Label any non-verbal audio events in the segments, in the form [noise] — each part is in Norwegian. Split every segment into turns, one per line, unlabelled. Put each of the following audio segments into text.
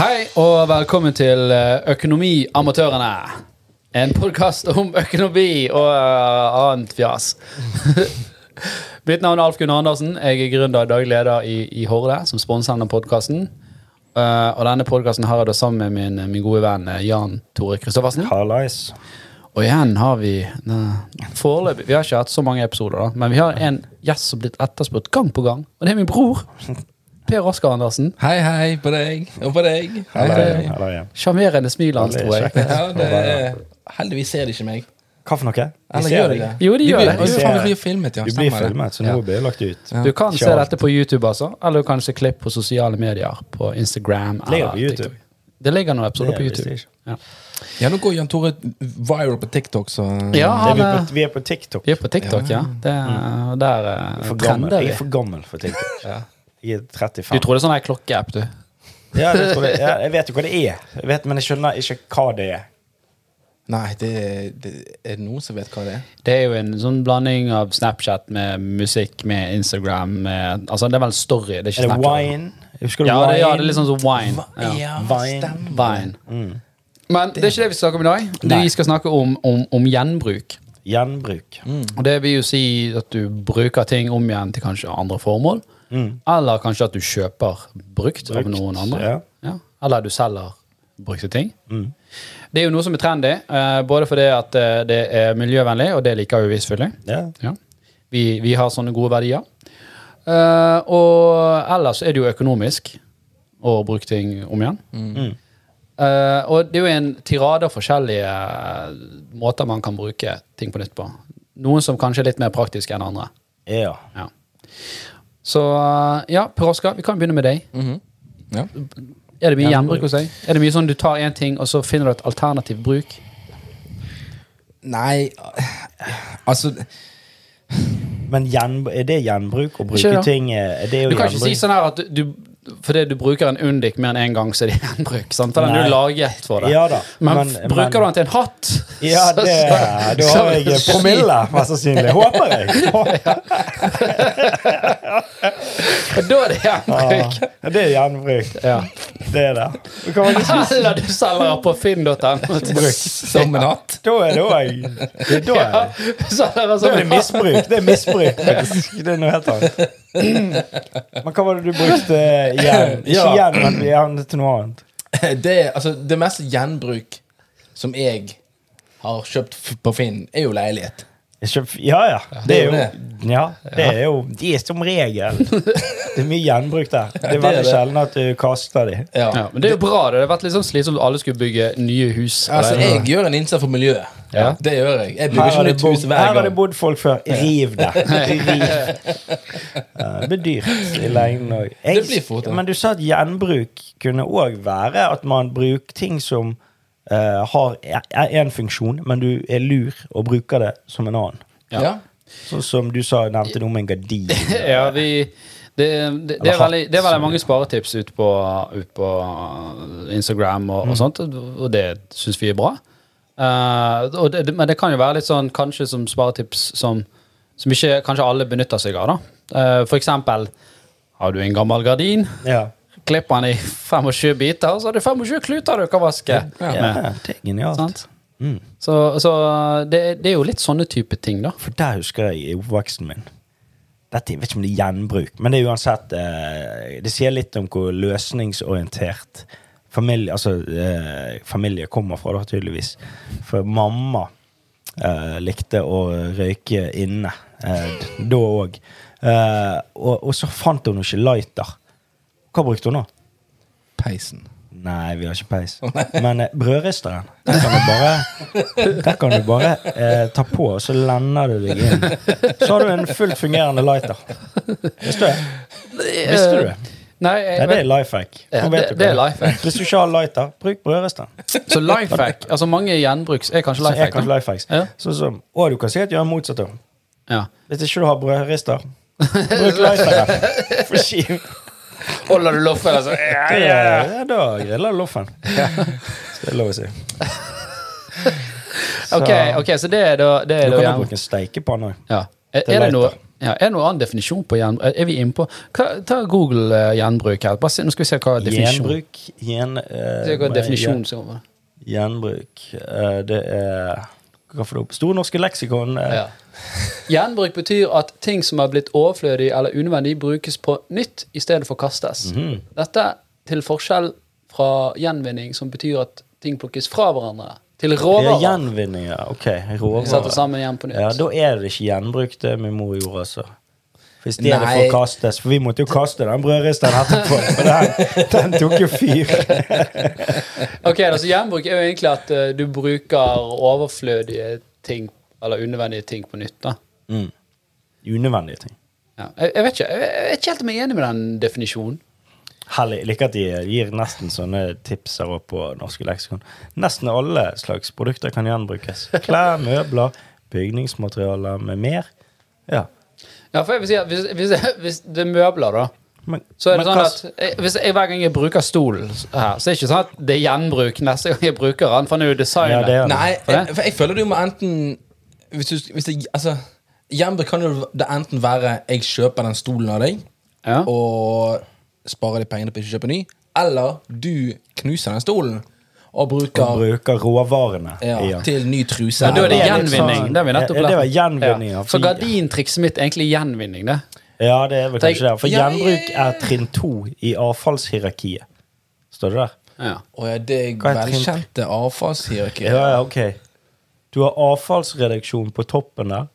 Hei og velkommen til eh, Økonomiamatørene. En podkast om økonomi og eh, annet fjas. [laughs] Mitt navn er Alf Gunnar Andersen. Jeg er gründer og daglig leder i, i Horde, som sponser denne podkasten. og denne podkasten har jeg da sammen med min, min gode venn eh, Jan Tore Christoffersen.
Hallais.
Og igjen har vi eh, foreløpig Vi har ikke hatt så mange episoder, da, men vi har en gjest som blitt etterspurt gang på gang, og det er min bror. Per Oskar Andersen.
Hei, hei på deg, og på deg. Hei,
Hallais
hei.
igjen, hallais igjen.
Sjarmerende smilet hans,
Veldig
tror jeg.
kjekt.
Ja, det er, heldigvis ser de ikke meg.
Hva for noe? Vi
Eller
ser
gjør de
deg.
det?
Jo, de gjør det.
De
blir, Å, faen,
ser
vi
det.
blir filmet, ja.
Vi blir
stemmer det.
filmet, så nå
Ja.
blir det lagt ut.
Ja.
Du kan se
Kjør.
dette på YouTube, altså. Eller du kan se klipp på sosiale medier. På Instagram
Ligger
eller
det på YouTube?
TikTok. Det ligger noen episoder
Det
på
visste
YouTube.
jeg ikke.
Ja.
ja, nå går Jan Tore viral på TikTok, så
ja,
Det er
han
vi,
er
på, vi er på TikTok.
Vi er på TikTok, ja. Det, er- der eh,
For gammel.
trender
Jeg
vi.
er for gammel for TikTok. Jeg er
Du
35.
tror det er sånn her klokkeapp, du.
Ja, det tror jeg. Ja, jeg vet jo hva det er, jeg vet, men jeg skjønner ikke hva det er.
Nei, det, det er det noen som vet hva det er?
Det er jo en sånn blanding av Snapchat med musikk, med Instagram med, Altså, det er vel story, det er ikke
Er det
Snapchat.
wine? Husker du
Ja, det,
wine?
ja, det er litt sånn som wine. Ja.
Vine. Mm.
stemmer.
Vine. Men det er ikke det vi skal snakke om i dag. Det
Nei.
Vi skal snakke om, om, om gjenbruk.
Gjenbruk.
Mm. Og det vil jo si at du bruker ting om igjen til kanskje andre formål. Eller kanskje at du kjøper brukt, av
Brukt,
noen andre.
ja.
Eller du selger brukte ting. Det er jo noe som er trendy, eh, både fordi at eh, det er miljøvennlig, og det liker jo vi selvfølgelig.
Ja.
Ja. Vi, vi har sånne gode verdier. Eh, og ellers er det jo økonomisk å bruke ting om igjen. Eh, og det er jo en tirade av forskjellige eh, måter man kan bruke ting på nytt på. Noen som kanskje er litt mer praktiske enn andre.
ja.
Ja. Så eh, ja, Per Oskar, vi kan begynne med deg.
Mhm. Ja.
Er det mye gjenbruk hos deg? Er det mye sånn du tar én ting, og så finner du et alternativ bruk?
Nei, altså
Men gjen, er det gjenbruk? Å bruke
Ikke det.
ting eh, Det er jo
Du kan ikke si
gjenbruk.
sånn her at du fordi du bruker en Undik mer enn én en gang, så er det gjenbruk. sant? For den er jo
Nei.
laget for det.
Ja da,
men,
men-
f- bruker du
men-
den til en hatt,
Ja,
[laughs] så-
det,
så-
da har jeg eh,
så-
promille, mest sannsynlig.
[laughs]
Håper jeg.
Da er det gjenbruk.
Ja, det er gjenbruk.
Ja.
Det er det. Du kan ikke
Eller du selger på finn.no. til bruk.
Som en hatt.
Da er det òg Det er da er
Ja,
det.
så er det
Da er det
sånn
misbruk. Det er misbruk, faktisk. Det er noe helt annet. Men hva var det du brukte igjen? Ikke
Ja.
igjen, men igjen til noe annet.
Det, er- altså, det meste gjenbruk som jeg har kjøpt f- på Finn, er jo leilighet.
Jeg kjøp- Ja, ja. Det er jo Ja, det er jo De er som regel Det er mye gjenbruk der. Det er veldig sjelden at du kaster de.
ja, men det er jo bra. Det Det har vært litt sånn slitsomt at alle skulle bygge nye hus.
Altså, jeg gjør en innsats for miljøet.
Ja.
Det gjør jeg. Jeg bygger
Her
ikke
har det
nytt
bodd,
hus
her
hver
har det
gang.
bodd folk før. Riv
[laughs]
det. Riv. Ja, Det blir dyrt i lengden òg.
Det blir fort, ja.
Men du sa at gjenbruk kunne òg være at man bruker ting som eh, har én funksjon, men du er lur og bruker det som en annen.
Ja.
Ja.
Sånn som du sa, nevnte noe om en
[laughs]
gardin.
Ja, vi det, det, det, er veldig, det er veldig mange sparetips ute på, ut på Instagram og,
Mm.
og sånt, og det syns vi er bra. Eh, og det, det- men det kan jo være litt sånn kanskje som sparetips som, som ikke kanskje alle benytter seg av. da. Eh, for eksempel har du en gammel gardin,
Ja.
klipper den i [laughs] 25 biter, så har du 25 kluter du kan vaske.
Ja.
ja, Mm.
Med,
det er genialt.
sant? Så, så det, det er jo litt sånne type ting, da.
For der husker jeg i oppveksten min Dette, Jeg vet ikke om det er gjenbruk, men det er uansett eh, Det sier litt om hvor løsningsorientert familie, altså, eh, familie kommer fra, da, tydeligvis. For mamma eh, likte å røyke inne eh, d- da òg. Eh, og, og så fant hun ikke lighter. Hva brukte hun da?
Peisen.
Nei, vi har ikke peis. Men eh, brødristeren, der kan du bare, der kan du bare eh, ta på, og så lender du deg inn. Så har du en fullt fungerende lighter. Visste du det? Visste du det?
Nei, jeg,
Nei, det er life hack.
Ja,
Nå vet
det-
du
det er
hva det er.
life hack.
Hvis du ikke har lighter, bruk brødristeren.
Så life hack altså mange gjenbruks er kanskje
Så
life
er
hack. da.
kanskje life hacks.
Ja.
Sånn som, og du kan sikkert gjøre motsatt òg.
Ja.
Hvis ikke du har brødrister, bruk lighteren. For skiv.
Holder du loffen, altså?
Ja, da griller du loffen. Så det er lov å si.
Ok, ok, så det er da, det er da
Du kan jo
jern-
bruke en steikepanne òg.
ja. er,
til
er, det noe,
lighter.
Ja, er det noen annen definisjon på gjenbruk? Er vi inne på Hva- Ta Google eh, gjenbruk her. Bare se, nå skal vi se hva definisjon
Gjenbruk gjen, eh,
Se hva
nei,
definisjon som kommer.
gjen- Gjenbruk eh, Det er Hva får du opp? Store norske leksikon. eh,
Ja. Gjenbruk betyr at ting som er blitt overflødig eller unødvendig, brukes på nytt i stedet for kastes.
Mhm.
Dette til forskjell fra gjenvinning, som betyr at ting plukkes fra hverandre til
Det er
råvarer.
gjenvinning, ja. Ok.
Vi setter
Råvarer.
sammen igjen på nytt.
Ja, da er det ikke gjenbruk, det min mor gjorde, altså. For i stedet
Nei.
for å kastes, for vi måtte jo kaste den brødristeren etterpå. For den, den tok jo fyr.
[laughs] Ok, altså Gjenbruk er jo egentlig at eh, du bruker overflødige ting, eller unødvendige ting, på nytt. da.
Mm. Unødvendige ting.
Ja. Jeg, jeg vet ikke, jeg, jeg er ikke helt om jeg er enig med den definisjonen.
Herlig. Jeg liker at de gir nesten sånne tips her oppe på norske leksikon. Nesten alle slags produkter kan
[laughs]
gjenbrukes. Klær, møbler, bygningsmaterialer med mer. Ja.
Ja, for jeg vil si at Hvis, hvis, [laughs] hvis det er møbler, da
Men,
Så er det
men
sånn
hva-
at jeg, Hvis jeg hver gang jeg bruker stolen her, så er det ikke sånn at det er gjenbruk neste gang jeg bruker den, for den er jo
Ja,
designet.
det er det.
Nei,
For det?
jeg, for jeg føler du må enten Hvis du hvis det, Altså, gjenbruk kan jo det enten være jeg kjøper den stolen av deg,
Ja.
og sparer de pengene på ikke å kjøpe ny, eller du knuser den stolen og
Man
bruker
bruker råvarene
ja,
i den.
til ny truse.
Men da er det
Ja,
eller-
litt
gjenvinning.
sånn-
Det har vi nettopp
Ja, det var
lært.
gjenvinning, ja.
Så gardintrikset mitt er egentlig gjenvinning, det.
Ja, det er vel
Tenk-
kanskje det. For
Ja,
gjenbruk
ja, ja.
er trinn to i avfallshierarkiet. Står det der?
Ja.
Å ja, det er
Hva er trinn-
velkjente avfallshierarki.
Ja, ja, ok. Du har avfallsreduksjon på toppen der.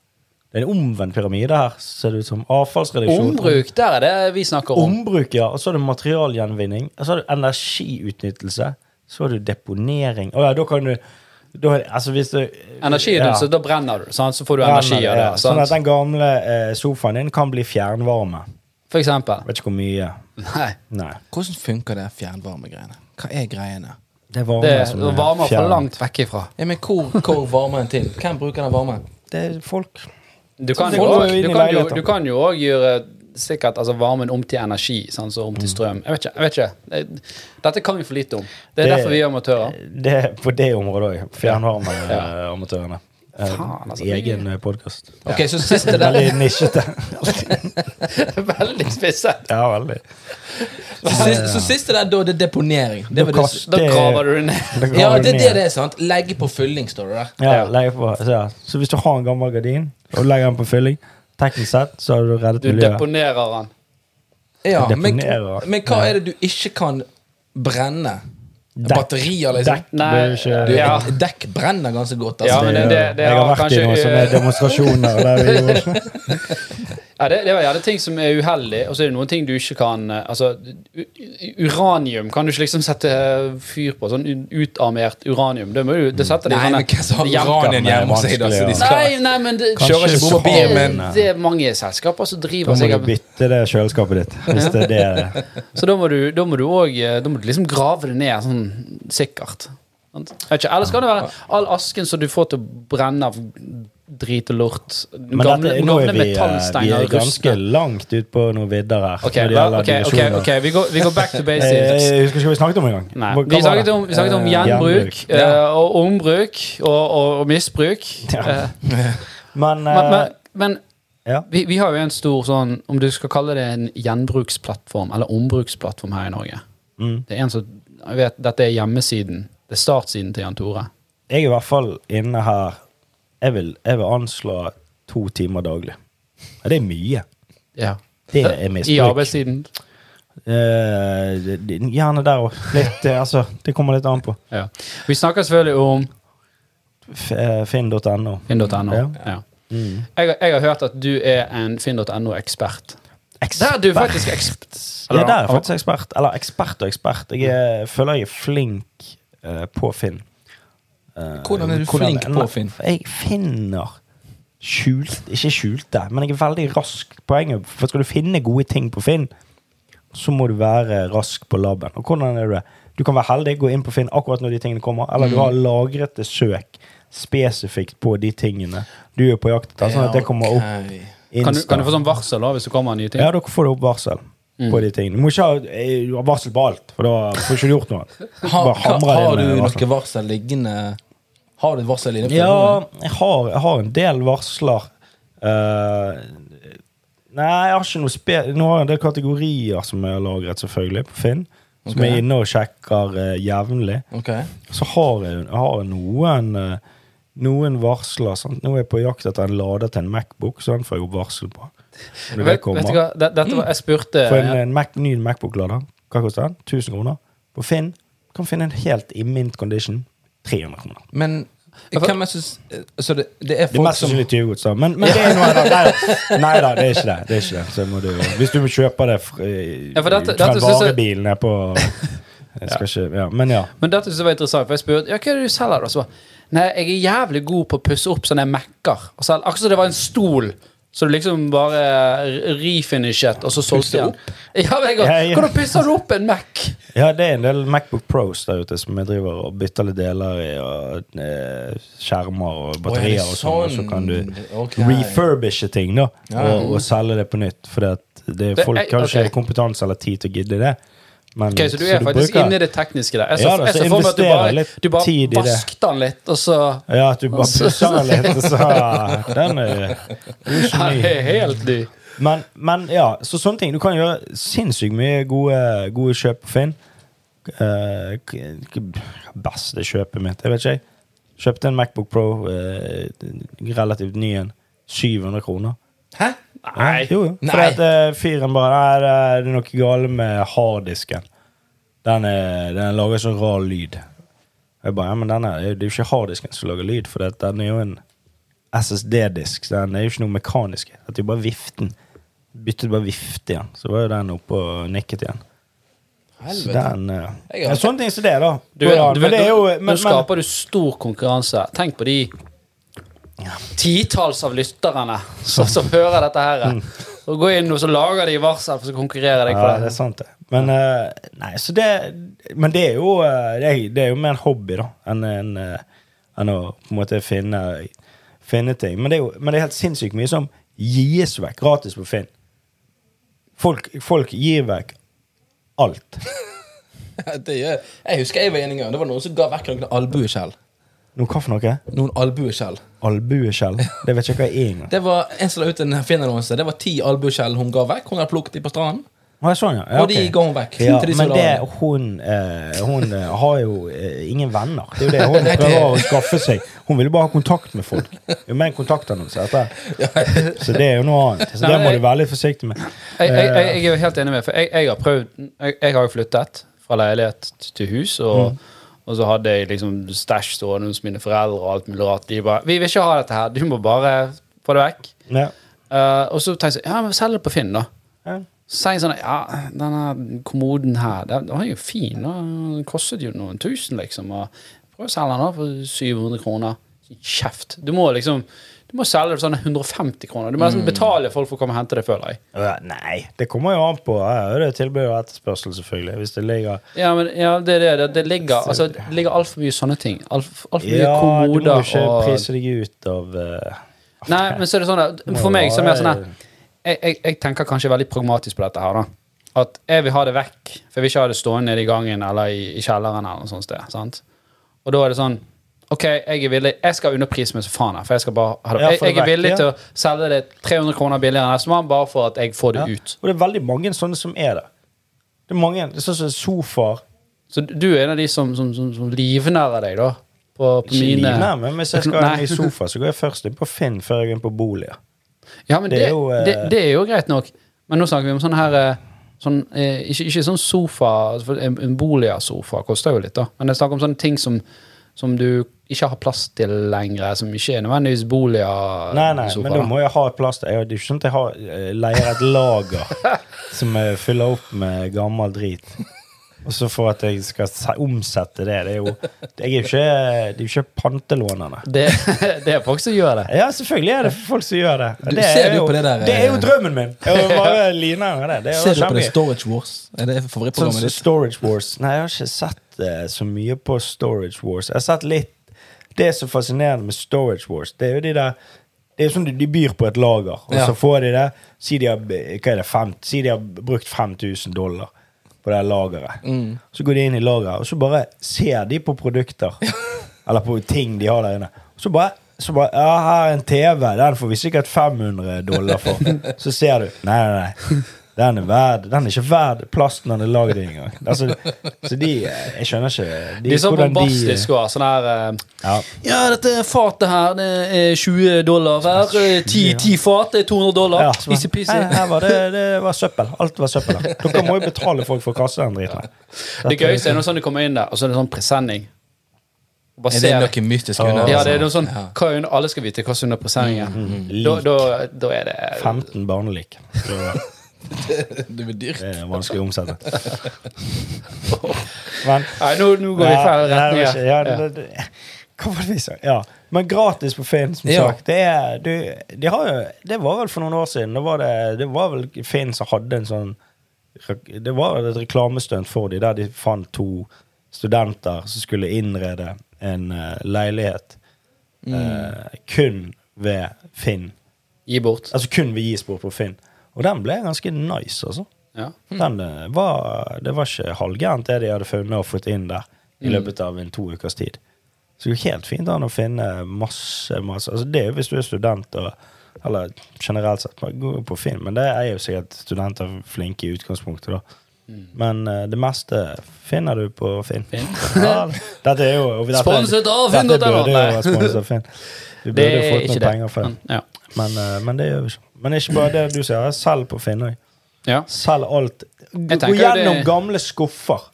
Det er en omvendt pyramide her, ser det ut som. Avfallsreduksjon.
Ombruk, der er det vi snakker om.
Ombruk, ja. Og så har du materialgjenvinning. Og så har du energiutnyttelse. Så har du deponering. Å ja, da kan du da, er- altså hvis du
Energiutnyttelse, da brenner du, sant? så får du
Ja,
energi av det.
ja, Sånn at
Sant?
den gamle eh, sofaen din kan bli fjernvarme.
For eksempel.
Vet ikke hvor mye.
Nei.
Nei.
Hvordan funker det fjernvarmegreiene? Hva er greiene?
Det er varme
Det
som er
varmer fra
fjern.
langt vekk ifra.
Ja, men hvor går varmen til? Hvem bruker den varmen?
Det er folk.
Du kan
det
jo
Sånn går
også-
jo inn
du
i
kan jo-
leiligheter.
du kan jo òg gjøre sikkert altså, varmen om til energi, sånn, så om til
Mm.
strøm. Jeg vet ikke. jeg vet ikke. Det- Dette kan vi for lite om. Det er
Det-
derfor vi er amatører. [laughs]
Det er på det området òg. Fjernvarmeamatørene.
Faen, altså.
Eh, Egen podkast.
Ok, så siste
[laughs]
der
Veldig nisjete. [laughs]
Veldig spisset.
Ja, veldig.
Så siste, så siste der, da, det er deponering. Det
Da
var det,
kaster-
Da
Det-
graver du det ned.
ja, det er det det er, sant? Legge på fylling, står det der.
Ja, legge på. Så, ja. så hvis du har en gammel gardin og legger den på fylling, teknisk sett, så har du reddet
Du
miljøet.
deponerer den.
Ja, men,
Deponerer.
men hva er det du ikke kan brenne?
Dekk.
Batterier, liksom?
Dekk
Nei,
bør ikke
Du,
Ja.
et Dekk brenner ganske godt.
Ja,
Altså.
men det- det- det
Jeg
har
har vært i noen
kanskje-
sånne demonstrasjoner der
[laughs]
vi gjorde
Ja, det, det er gjerne ting som er uheldig, og så er det noen ting du ikke kan eh, Altså, u- u- uranium kan du ikke liksom sette fyr på. Sånn u- utarmert uranium. Det, må du, det sånn setter de
Nei, men hvem som har uranien
Nei,
hjemme hos seg? da, så de
vanskelig, ja.
skal-
Nei, nei, men det,
Kanskje Kjører ikke bomber bil,
det,
men-
det er mange selskaper som
Da
driver
må du
sikkert
bytte det kjøleskapet ditt. Hvis det er det.
Så da må du da må du òg eh, Da må du liksom grave det ned sånn sikkert. Sant? Jeg vet ikke, Ellers kan det være all asken som du får til å brenne av drit og lort.
Men
Gamle,
dette, nå
gamle
er vi, eh, vi
metallsteiner
er ganske
rustne.
langt ut på noe vidder her.
Ok,
når
vel,
det gjelder
ok, ok,
divisjoner.
ok, vi går, vi går back to
Eh,
basics.
Jeg husker ikke hva vi snakket om engang.
Nei.
Hva- hva
Vi
var
snakket
det?
om, vi snakket om
Eh,
gjenbruk
gjenbruk. Ja.
eh, og ombruk og, og, og misbruk.
Ja.
Eh,
Men,
Men,
eh,
men, men
ja.
vi, vi har jo en stor sånn, om du skal kalle det en gjenbruksplattform, eller ombruksplattform her i Norge.
Mm.
Det er en som, jeg vet, Dette er hjemmesiden. Det er startsiden til Jan Tore.
Jeg er i hvert fall inne her Jeg vil, jeg vil anslå to timer daglig. Ja, det er mye.
Ja.
Det er
I
misbruk.
arbeidstiden.
Eh, det- det- gjerne der òg. Litt, eh, altså. Det kommer litt an på.
Ja. Vi snakker selvfølgelig om
F- eh, Finn.no.
finn.no.
Ja.
Ja.
Mm.
Jeg, har- jeg har hørt at du er en finn.no-ekspert. Der er du faktisk ekspert.
Ja, der er jeg faktisk ekspert. Eller ekspert og ekspert. Jeg er, føler jeg er flink eh, på Finn. Eh,
Hvordan er du flink
Nei,
på Finn?
Jeg finner skjult Ikke skjulte, men jeg er veldig rask. Poenget for skal du finne gode ting på Finn, så må du være rask på labben. Og hvordan er du det? Du kan være heldig, gå inn på Finn akkurat når de tingene kommer, eller
Mm.
du har lagrete søk spesifikt på de tingene du er på jakt etter. Sånn at det kommer opp
Ok.
Kan du,
insta.
kan du få sånn varsel da, hvis det kommer nye ting?
Ja, da får du opp varsel på de tingene. Du må ikke ha eh, du har varsel på alt, for da får ikke du gjort noe.
Har,
Bare hamrer
har
inn,
du
eh,
noe
varsel.
varsel liggende Har du et varsel inne? på
Ja,
telefonen?
jeg har, jeg har en del varsler. Eh, Nei, jeg har ikke noe spe... Nå har det kategorier som jeg har lagret, selvfølgelig, på Finn. Som jeg er inne og sjekker eh, jevnlig.
Ok.
Så har jeg, jeg har noen eh, Noen varsler. Sant? Nå er jeg på jakt etter en lader til en Macbook, så den får jeg jo varsel på. Når
Vet,
det
vet
kommer.
du hva, det- dette var, jeg spurte
For en, eh, en Mac, ny Macbook-lader, hva koster den? 1000 kroner. På Finn kan du finne en helt i mint condition. 300 kroner.
Men hvem jeg syns eh, Så det, det er
Det er
folk
mest
som
sannsynlig tyvegodset, men, men det er noe annet.
[laughs]
Nei, nei da, det er ikke det. det, er ikke det. Så må du, hvis du kjøper det fra,
Ja, for dette-
fra
dette synes jeg-
varebilen jeg på
[laughs]
jeg skal ikke, ja, Men ja.
Men dette synes jeg var interessant, for jeg spurte ja, hva er det du selger. da? Så bare, Nei, jeg er jævlig god på å pusse opp sånne Mac-er. Og selv- Akkurat som det var en stol. Så du liksom bare r- refinishet, og så solgte jeg den. Ja, men jeg,
Ja, ja.
går, Hvordan pusser du opp en Mac?
ja, det er en del Macbook Pros der ute som jeg driver og bytter litt deler i, og eh, skjermer og batterier
Å,
og
ja,
sånn, og
det er
så kan du
sånn. Ok.
refurbishe ting, da,
Ja.
og, og selge det på nytt. For det,
Det-
folk
jeg-
har ikke
ok.
kompetanse eller tid til å gidde det. Men,
Ok, Så du er faktisk inne i det tekniske der. Jeg så,
Ja, da,
jeg
så
så for meg at du
investerer
bare,
litt
du bare
tid i det.
vasket den litt, og så
Ja, at du
[laughs]
bare pusser den litt, og så Den er jo
Ja, det
geni.
er helt ny.
Men, men ja, så sånne ting. Du kan gjøre sinnssykt mye gode, gode kjøp på Finn. Eh, k- k- beste kjøpet mitt, jeg vet ikke jeg. Kjøpte en Macbook Pro, eh, relativt ny en. 700 kroner.
Hæ?
Nei.
Jo, jo. Fordi
Nei.
at eh, fyren bare Nei, det er- det er noe galt med harddisken. Den, er, den lager sånn rar lyd. Og Jeg bare, ja, men den er, Det er jo ikke harddisken som lager lyd, for det, den er jo en SSD-disk. så Den er jo ikke noe mekanisk. i. At de bare viften Byttet bare vifte igjen. Så var jo den oppe og nikket igjen. Så
Helvete.
den eh,
Jeg
ja,
har-
Sånne ting som det, da.
Du,
Går an.
vet- du,
men
vet,
det er jo
nå-
men,
nå skaper du stor konkurranse. Tenk på de titalls av lytterne som, som hører dette her. Og gå inn og så lager de varsel for å konkurrere deg på
Mm. Ja, det
det.
er sant, det. Men, eh, nei, så det, men det er jo eh, det er, det er jo mer en hobby, da, enn en, eh, enn å på en måte finne, finne ting. Men det, er jo, men det er helt sinnssykt mye som gis vekk gratis på Finn. Folk, folk gir vekk alt.
[laughs] Det gjør Jeg husker jeg var enig en gang. Det var noen som ga vekk noen albueskjell.
Noe hva for noe?
Noen albueskjell.
Albueskjell? Det vet jeg ikke hva er engang.
Det var en som la ut en Finn-annonse. Det var ti albueskjell hun ga vekk. Hun hadde plukket de på stranden.
Å, jeg sånn, ja. Ja,
Og de
ok.
ga hun vekk.
Ja,
til de som
men
la
det,
den.
hun, eh, hun eh, har jo eh, ingen venner. Det er jo
[laughs]
det hun
Nei, det-
prøver å skaffe seg. Hun vil jo bare ha kontakt med folk. Jo mer kontaktannonse
[laughs]
dette er. Så det er jo noe annet.
Nei,
Så det
men
må
jeg-
du være litt forsiktig med.
Jeg, jeg, jeg, jeg er jo helt enig med for jeg, jeg har prøvd jeg, jeg har jo flyttet fra leilighet t- til hus,
Mm.
og, og så hadde jeg liksom stæsj stående hos mine foreldre og alt mulig rart. De bare 'Vi vil ikke ha dette her. Du må bare få det vekk.'
Ja.
Eh, og så tenkte jeg 'Ja, men selg det på Finn', da.
Ja.
Så sa jeg sånn Ja, denne kommoden her, den den var jo fin. da. Den kostet jo noen tusen, liksom. Og prøv å selge den da for 700 kroner. Kjeft. Du må liksom Du må selge det for sånn 150 kroner. Du må
Mm.
nesten betale folk for å komme og hente det, føler jeg.
Ja, Nei, det kommer jo an på. Ja, det er tilbud og etterspørsel, selvfølgelig. Hvis det ligger
Ja, men ja, det, er det, det, det ligger altså, det ligger altfor mye sånne ting. Altfor alt for mye
Ja, du må
kommoder
jo ikke
og
prise deg ut av eh,
Nei, men så er det sånn at
må
For
jo
meg så er det mer
være-
sånn her jeg, jeg, jeg tenker kanskje veldig pragmatisk på dette her, da. At jeg vil ha det vekk. For jeg vil ikke ha det stående nede i gangen eller i, i kjelleren eller noe sånt sted. sant? Og da er det sånn OK, jeg er villig Jeg skal underprise meg som faen her, for jeg skal bare ha det.
Ja,
Jeg,
få det
jeg er
vekk,
villig
ja.
til å selge det 300 kroner billigere enn nestemann, bare for at jeg får det
ja.
ut.
Og det er veldig mange sånne som er der. Det er mange, det er sånn som sofaer.
Så du er en av de som, som, som, som livnærer deg, da? På, på
Ikke
mine
livnær, men hvis jeg skal ha en
[laughs]
ny
Nei.
sofa, så går jeg først inn på Finn før jeg går inn på boliger.
Ja, men det,
Det
det,
er jo, eh,
det, er jo greit nok. Men nå snakker vi om sånn her eh, sånn, eh, ikke, ikke sånn sofa for En, en boligsofa koster jo litt, da. Men jeg snakker om sånne ting som, som du ikke har plass til lenger. Som ikke er nødvendigvis
Nei, nei, men da
boligsofa.
må jeg ha et plass der. Jeg- Det er ikke sånn at jeg har, eh, leier et
[laughs]
lager som jeg fyller opp med gammel drit. Og så for at jeg skal se- omsette det. Det er jo, jeg er jo ikke, det er jo ikke pantelånerne.
Det, [laughs] det er folk som gjør det.
Ja, selvfølgelig er det folk som gjør det.
Du
det,
ser
er,
jo
jo,
på det der,
det er jo
eh,
drømmen min! Jeg må bare line av det. Det er jo
Ser du på det
kjempegøy.
Storage Wars? Er det
Sånn
favorittprogrammet
som
ditt?
Storage Wars Nei, jeg har ikke sett eh, så mye på Storage Wars. Jeg har sett litt Det som er fascinerende med Storage Wars, det er jo de der det er jo sånn de, de byr på et lager, og
Ja.
så får de det. Si de har, b- hva er det, fem, si de har brukt 5000 dollar på det lageret.
Mm.
Så går de
[laughs]
inn i lageret, og så bare ser de på produkter. eller på ting de har der inne. Og så bare Så bare Ja, her er en TV. Den får vi sikkert 500 dollar
[laughs]
for. Så ser du. Nei, nei, nei. Den er, verd, den er ikke verd plasten den er lagd i engang. Altså, så de Jeg skjønner ikke
De er så
hvordan de-
bombastiske og har sånn her eh,
Ja.
Ja, dette fatet her, det er 20 dollar hver. eh, Ti ti fat det er 200 dollar.
Ja, så bare,
Easy-peasy.
Nei, her var det, det var søppel. Alt var søppel her. Dere må jo betale folk for å kaste den driten her.
Det gøyeste er når sånn du kommer inn der, og så er det sånn presenning. Bare
Er det
ser-
noe mystisk
Ja. Mm,
under?
Ja, det er noe sånn
Ja.
hva under, Alle skal vite hva som er under presenningen. da, da, da er det
15 barnelik. Så
Det blir dyrt.
Det er vanskelig å omsette.
[laughs]
Men
Nei, nå, nå går vi i feil
Nei, det var
retning.
ikke- Ja,
her. Ja.
det, det, hva var det vi sa? Ja. Men gratis på Finn, som
Ja.
sagt. Det, er, du, de har jo, det var vel for noen år siden. Det var, det, det var vel Finn som hadde en sånn rek- Det var vel et reklamestunt for dem, der de fant to studenter som skulle innrede en eh, leilighet
Mm.
eh, kun ved Finn.
Gi bort.
Altså kun ved Gisport på Finn. Og den ble ganske nice, altså.
Ja.
Den eh, var, det var ikke halvgærent det de hadde funnet og fått inn der i
Hmm.
løpet av en to ukers tid. Så det er helt fint an å finne masse, masse altså Det er jo hvis du er student og Eller generelt sett, bare gå på Finn, men det er jo sikkert studenter flinke i utgangspunktet, da.
Hmm.
Men eh, det meste finner du på Finn. [laughs] Ja, dette er jo og dette-
Sponset av Finn.no.
Dette burde jo
Nei.
være sponset av Finn. Vi
Det
burde jo
er
fått
ikke
noen
det.
penger for det.
Men, ja.
Men, eh, men det gjør vi ikke. Men ikke bare det du sier. Selg på Finn òg.
Ja.
Selg alt. Gå
Jeg tenker jo
gjennom
det-
gamle skuffer.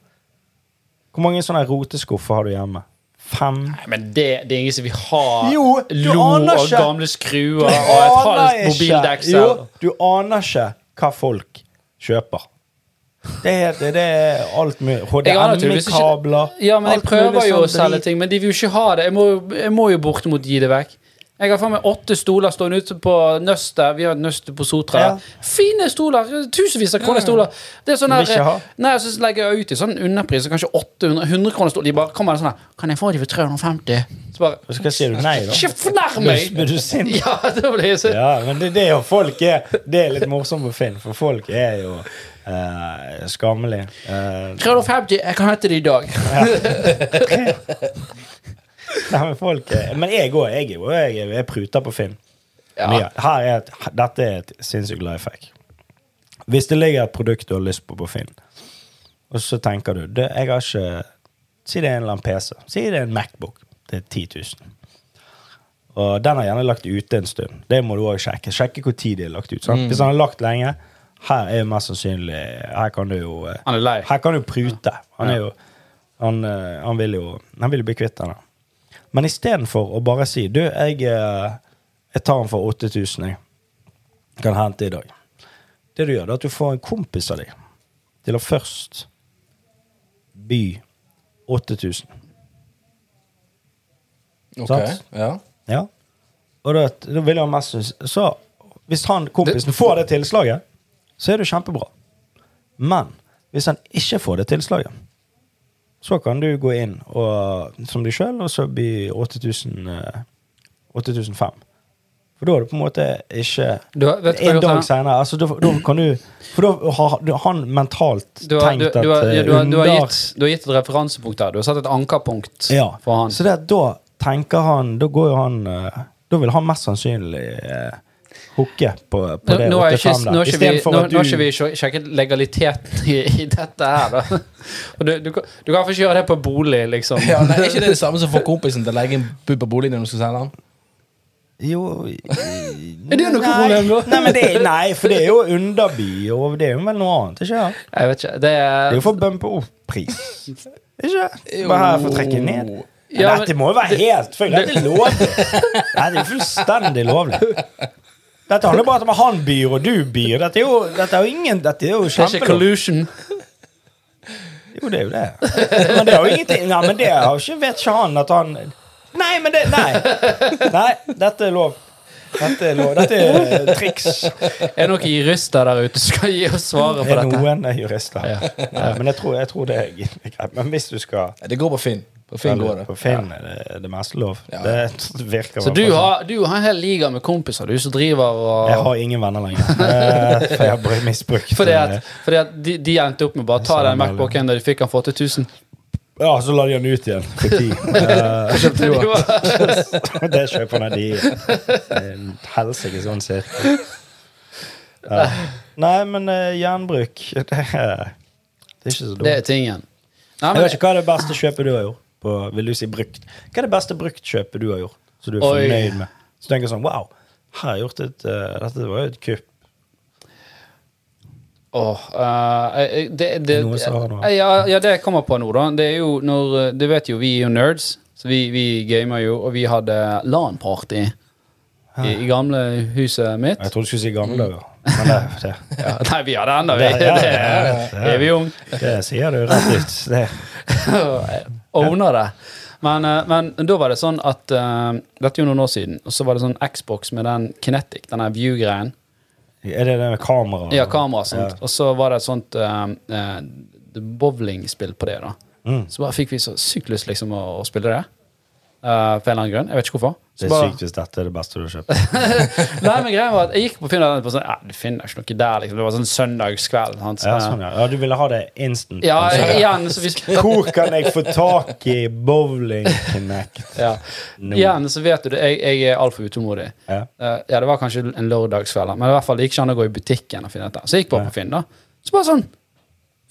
Hvor mange sånne roteskuffer har du hjemme? Fem?
Nei, Men det, det er ingen som vil ha
Jo, du
lo
aner
og
ikke.
gamle skruer og et halvt
Jo,
mobildeksel.
du aner ikke hva folk kjøper. Det er, det er alt mulig.
Jeg aner tydeligvis ikke-
HDMI-kabler.
Ja, men jeg
alt
prøver
mulig
jo å
sånn
selge
drit.
ting, men de vil jo ikke ha det. Jeg må, jo- jeg må jo bortimot gi det vekk. Jeg har faen meg åtte stoler stående ute på Nøstet. Vi har et Nøstet på Sotra.
Ja.
Fine stoler! Tusenvis av kroner i stoler. Det er sånn
Vil ikke ha.
her, nei, så legger jeg ut i sånn underpris, så kanskje 800 100 kroner stol. De bare kommer sånn her Kan jeg få de for 350? Så bare
Så hva sier du nei, da?
Ikke fornærm meg!
Blir du sint?
[laughs] Ja, da blir jeg så
Ja, men det, det er jo folk er Det er litt morsomt på Finn, for folk er jo eh, skammelige. Eh, [laughs]
350, jeg kan hente det i dag.
Nei, men folk er- Men jeg òg. Jeg, er jo- jeg, er- jeg pruter på Finn.
Ja.
Mye. Her er et, dette er et sinnssykt life hack. Hvis det ligger et produkt du har lyst på på Finn, og så tenker du det, jeg har ikke, Si det er en eller annen PC. Si det er en Macbook til 10 000. Og den har gjerne lagt ute en stund. Det må du òg sjekke. Sjekke hvor tid de har lagt ut. Sant? Hvis den har lagt lenge, her er jo mest sannsynlig Her kan du jo eh,
Han er lei.
Her kan du prute. Han er jo Han, eh, han vil jo Han vil jo bli kvitt den. da. Men istedenfor å bare si Du, jeg, eh, jeg tar den for 8000, jeg. Kan hente i dag. Det du gjør, det er at du får en kompis av deg til å først by 8000.
Ok,
Sant?
ja.
Ja. Og da, da vil han mest sanns- Så hvis han kompisen får det tilslaget, så er det kjempebra. Men hvis han ikke får det tilslaget, så kan du gå inn og, som deg sjøl, og så blir 8000, eh, 8500. For da er det på en måte ikke
Du har- vet du hva
En
jeg har
dag
gjort her?
seinere. Altså, da, da kan du For da har du- han mentalt
Du har, du,
tenkt at
du, har,
eh,
ja, du, har, du, har
under-
gitt, du har gitt et referansepunkt der. Du har satt et ankerpunkt
ja.
for han.
Så det, at da tenker han Da går jo han eh, Da vil han mest sannsynlig eh, hooke på, på
Nå,
det
nå har ikke, nå
85 der.
har ikke vi,
Istedenfor
nå, nå
at
har
du
ikke vi sjek- sjekket legaliteten i, i dette her, da. Og du, du, kan- du kan få ikke gjøre det på bolig, liksom.
ja nei, er ikke det det samme som å få kompisen til å legge en bud på boligen når du skal selge den?
Jo
[laughs] Er det noe problem, da?
[laughs] Nei, men det, er- nei, for det er jo underby, og det er jo vel noe annet, ikke sant?
[laughs] Jeg vet ikke. Det
Det
er
er jo for å bumpe opp pris. Ikke? Bare her for å trekke ned. Men
Ja, men-
dette må jo være helt full. Dette er
[laughs]
lovlig. Nei, det er fullstendig lovlig. Dette handler bare om at han byr, og du byr. Dette er jo, dette er jo ingen Dette er jo
det er ikke
kjempelov.
collusion.
Jo, det er jo det. Men det har jo ingenting Nei, men det har jo ikke Vet ikke han at han Nei, men det Nei. Nei, dette er lov. Dette er lov. Dette er triks.
Er det noen jurister der ute som skal gi oss svaret på
Er
dette?
noen er jurister.
Ja.
Nei, men jeg tror, jeg tror det er greit. Men hvis du skal
Ja, Det går på Finn. På Finn går det.
På Finn er det, det meste lov.
Ja.
Det virker
Så
i hvert
du
fall sånn.
har, du har en hel liga med kompiser du som driver
Jeg
og
har ingen venner
[laughs]
lenger. Eh, For jeg har bare misbrukt
Fordi at,
eh,
fordi at de, de endte opp med bare å ta
Sånn
den
er det. [laughs]
Macbooken da de fikk den for 8000.
Ja, så la de han ut igjen for
[laughs]
ti. Eh, det kjøper han av de. En Helsike sånn cirka. Ja. Nei, men eh, jernbruk [laughs] det, er- det er ikke så dumt.
Det er tingen. Nei,
Jeg
men,
vet ikke hva er det beste kjøpet du har gjort. På, vil du si brukt? Hva er det beste bruktkjøpet du har gjort? Så du er
Oi.
fornøyd med? Så du tenker sånn Wow, her har jeg gjort et eh, Dette var jo et kupp.
åh, eh, eh, det, det,
Noe som har noe.
eh, ja, ja, det jeg kommer på nå, da. Det er jo når eh, Du vet jo, vi er jo nerds, så vi, vi gamer jo, og vi hadde LAN-party i, i gamle huset mitt.
Jeg trodde du skulle si gamle dager. Men det, det,
Mm. [laughs] Ja, nei, vi hadde ennå, vi.
Det-
Det
ja, ja,
er
ja.
er vi [laughs] unge.
det sier du rett ut. Det.
Owner det. Men, eh, men da var det sånn at eh, Dette er jo noen år siden, og så var det sånn Xbox med den Kinetic, den der view-greien.
Er det det med kamera?
Ja, kamera og sånt.
Ja.
Og så var det et sånt eh, eh, bowlingspill på det, da.
Mm.
Så bare fikk vi så sykt lyst liksom å, å spille det. Uh, for en eller annen grunn. Jeg vet ikke hvorfor. Så
Det er
bare- [laughs]
sykt hvis dette er det beste du har kjøpt.
Nei, men greia var at Jeg gikk på Finn og tenkte på sånn, ja, du finner ikke noe der. liksom Det var sånn søndagskveld. sant? Så,
Ja, sånn, ja. ja, du ville ha det instant.
ja,
kanskje.
igjen, så vi,
Hvor kan jeg få tak i Bowling Connect?
ja.
Nå.
igjen så vet du det, jeg, jeg er altfor utålmodig.
Ja.
Eh, ja, det var kanskje en lørdagskveld, da, men i hvert fall det gikk ikke an å gå i butikken og finne dette. Så jeg gikk bare på Finn, da. Så bare sånn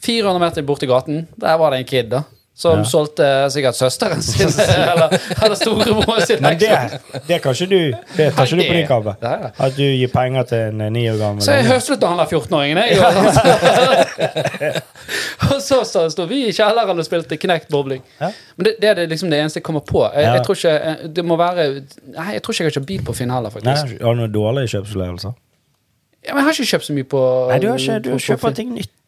400 meter borti gaten, der var det en kid, da. Som
Ja.
solgte sikkert søsteren sin,
[laughs]
eller, eller storebroren sin.
Men det, det kan ikke du Det tar ikke du på din kappe.
Nei, nei.
At du gir penger til en eh, ni år gammel
Så jeg
unge.
høslet han der 14-åringen, jeg. og- [laughs] og så så sto vi i kjelleren og spilte knekt bowling.
Ja.
Men det, det er det liksom det eneste jeg kommer på. Jeg,
Ja.
jeg tror ikke eh, det må være Nei, jeg tror ikke jeg har kjøpt bil på Finn heller,
Nei,
faktisk.
Har du noen dårlige kjøpsopplevelser?
Ja, men jeg har ikke kjøpt så mye på
Nei, du, har ikke, du
Oh, på- på
kjøper
Finn.
ting nytt.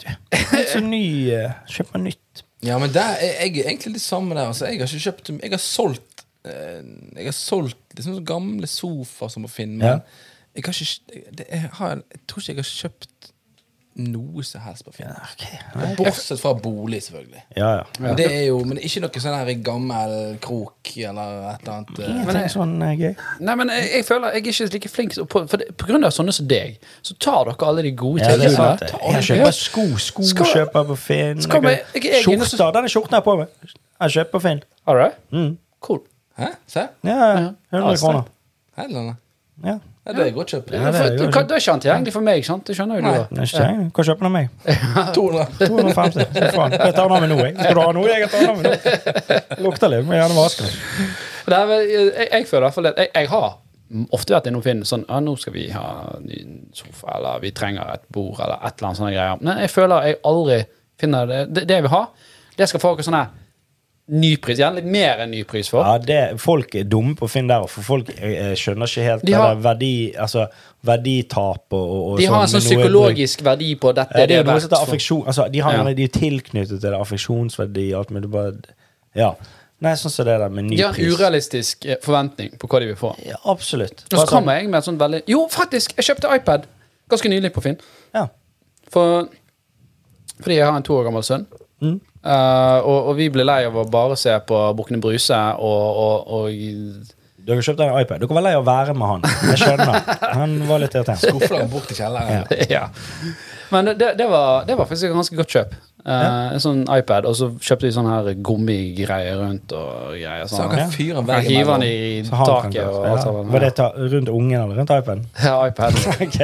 Så ny, eh, kjøper nytt.
Ja, men der, jeg, jeg er egentlig litt samme der. Altså. Jeg har ikke kjøpt Jeg har solgt eh, Jeg har solgt liksom sånne gamle sofaer som må finne
Ja.
men Jeg har ikke det, jeg, har, jeg tror ikke jeg har kjøpt noe som helst på Finn.
Ja, ok. Nei.
Bortsett fra bolig, selvfølgelig.
Ja, ja.
Men det er jo Men ikke noe sånn her gammel krok eller et eller annet. eh.
Ingenting sånn eh, gøy.
Nei, men jeg, jeg føler jeg er ikke like flink så- på, for det, på grunn av sånne som deg, så tar dere alle de gode
Ja, det er
tingene.
sant, det.
Ta-
Jeg kjøper sko, sko
Skal-
kjøper på Finn.
Skal vi- jeg- jeg-
Skjorter. Denne skjorten jeg har på meg, jeg kjøper på Finn.
All right?
Mm.
Cool.
Hæ? Se.
Ja,
Ja.
100 kroner.
Helene.
Ja.
Ja, det er godt kjøpt. [laughs]
Ja,
det
for,
er jo
hva-
sant.
det er ikke antigjengelig for meg, sant? Det skjønner jo
Nei.
du. da.
Det er ikke tegn. Hva kjøper du av meg?
200.
250. Fy faen. Jeg tar den av meg nå, jeg. Skal du ha noe? Jeg tar den av meg nå. Lukter litt, må gjerne vaske den.
Nei, men jeg, jeg føler i hvert fall at jeg, jeg har ofte vært innom Finn sånn ja, 'Nå skal vi ha ny sofa', eller 'vi trenger et bord', eller et eller annet sånne greier. Men jeg føler jeg aldri finner det Det, det jeg vil ha, det skal folk ha sånn her ny pris. Gjerne litt mer enn ny pris for.
Ja, det, folk er dumme på Finn der, for folk eh, skjønner ikke helt
De
det
har-
der verdi, altså, verditap og, og
De har en sånn
med noe bruk.
psykologisk verdi på dette.
Ja, det er jo
verdt
noe som heter
for.
affeksjon altså, de, har,
Ja.
gjerne- de er tilknyttet til det, affeksjonsverdi og alt, men det bare Ja. Nei, sånn som det der med ny
De har en
pris.
urealistisk eh, forventning på hva de vil få.
Ja, Altså, absolutt. sånn,
Og så kommer jeg med et sånt veldig Jo, faktisk! Jeg kjøpte iPad ganske nylig på Finn.
Ja.
For, fordi jeg har en to år gammel sønn.
Mm.
Eh, og, og vi ble lei av å bare se på Bukkene Bruse og, og, [laughs] og
Dere kjøpte en iPad. Dere var lei av å være med han. Jeg skjønner. Han var litt irriterende.
Skuffer deg bort til kjelleren.
Ja. Men det, det, var, det var faktisk et ganske godt kjøp. Eh, En sånn iPad, og så kjøpte vi sånne her gummigreier rundt og greier.
Så han
Sånn.
Ja.
kan fyre en
Kan
vegg
hive den
imellom.
i
Så han kan
taket
gå.
og
Ja.
alt sammen.
Var det ta, rundt ungen eller rundt iPaden?
Ja, iPad.
Ok.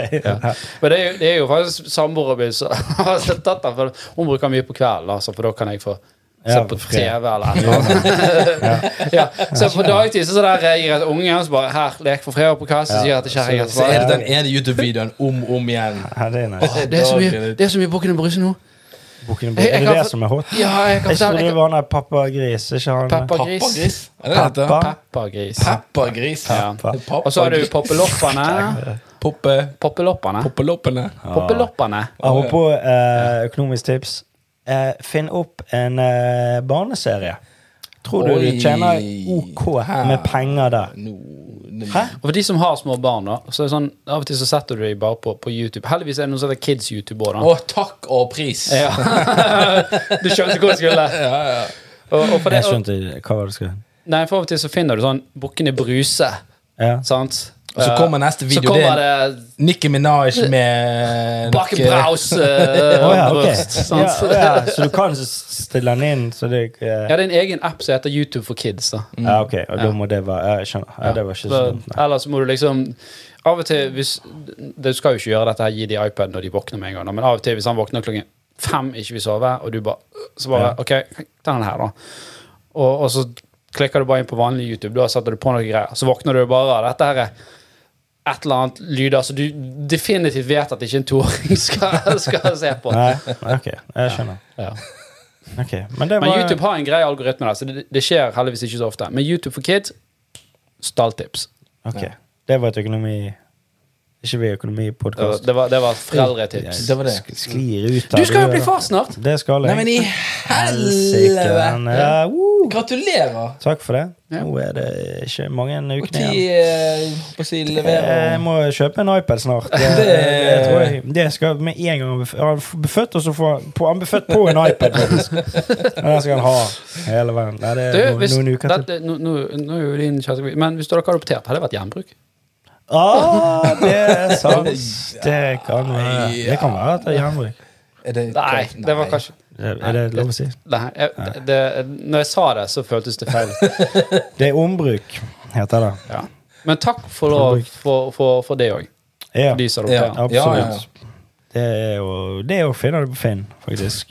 Ja. Men det er, jo, det er jo faktisk samboeren min som har tatt den. For hun bruker den mye på kvelden, altså, for da kan jeg få se
Ja,
på
fred.
TV eller et eller annet. [laughs] ja. Så på dagtid så der jeg gir et unge og så bare Her, lek for fred og på kast, så sier jeg til kjerringa
Så er det den ene YouTube-videoen om og om igjen.
Ja, det er nice.
[laughs] det er så mye, det er så mye Bukken og Bruse nå.
Bukken i
Jeg- jeg
bordet. Er
kan
det det
få-
som er hot?
Ja, jeg kan
Jeg trodde det
fortelle
var han der pappagris. Ikke han
Pappagris.
Pappagris? Er det det heter?
Pappa.
Pappagris.
Pappagris.
Ja.
Pappa-
Og så har du poppeloppene.
Poppe...
Poppeloppene.
Poppeloppene.
Poppeloppene.
Apropos eh, økonomisk tips. Eh, finn opp en eh, barneserie. Tror du
Oi.
du tjener OK med penger der?
Nå
Hæ?
Og for de som har små barn, da, så er det sånn, av og til så setter du dem bare på, på YouTube. Heldigvis er det noe som heter Kids YouTube òg, da. [laughs]
Å, takk og pris.
Ja. du skjønte hvor jeg skulle. Og, og for det,
Jeg
og,
skjønte ikke hva var det du skulle
nei, for av og til så finner du sånn Bukkene Bruse.
ja.
Sant?
Og så kommer neste video.
Så kommer
det
det
er Nicki Minaj med
bakkebraus.
Å ja, ok.
eh, sant?
Ja, ja, så du kan s- stille den inn, så det eh,
Ja, Mm. det er en egen app som heter YouTube for kids. da.
Ja, ok. Og da må det være ja, Jeg skjønner. Ja, det var ikke så
For-
dumt. nei.
Ellers må du liksom Av og til hvis Du skal jo ikke gjøre dette her, gi de iPad når de våkner med en gang, da, men av og til hvis han våkner klokken fem, ikke vil sove, og du bare Så bare
Ja.
OK, ta den her, da. Og, og så klikker du bare inn på vanlig YouTube, da setter du på noe greier. Så våkner du bare av dette her er et eller annet lyder som du definitivt vet at ikke en toåring [laughs] skal, skal se på.
Nei, ok. Jeg skjønner.
Ja.
Ok, Men det var
Men YouTube har en grei algoritme, der, så det, det skjer heldigvis ikke så ofte. Men YouTube for kids stalltips.
Ok. Det var et økonomi... Ikke vi
Det var,
økonomipodkast.
det var, det var foreldretips.
Det var det.
Sk- Sklir ut av
Du skal jo
det,
bli
da.
far snart!
Det skal jeg.
Nei, men i
Helsike,
helvete!
men, ja, woo.
Gratulerer!
Takk for det.
Ja.
Nå er det ikke mange
Og
ukene
ti
igjen.
eh, på å si
Jeg
leverer.
må kjøpe en iPad snart. Det, det, tror jeg. det skal med en gang han blir f- han er befødt, og så får han på, han blir født på en iPad. faktisk. Ja, Den skal han ha hele veien. Nei, det
Du,
er
hvis,
noen, noen uker til.
dette, Eh, nå, nå, nå er jo din kjæreste Men hvis du hadde ikke adoptert, hadde det vært gjenbruk?
Ah, det er sant. Det kan være Det kan være at det er gjenbruk.
Er det
Nei,
klart?
det var
Nei.
kanskje
Er det lov å si?
Nei, jeg, det, Når jeg sa det, så føltes det feil.
Det er ombruk, heter det.
[laughs] Ja. Men takk for, lov, for, for, for det òg,
Ja,
de som adopterer.
Ja.
absolutt. Det er jo Det er jo finner du på Finn, faktisk.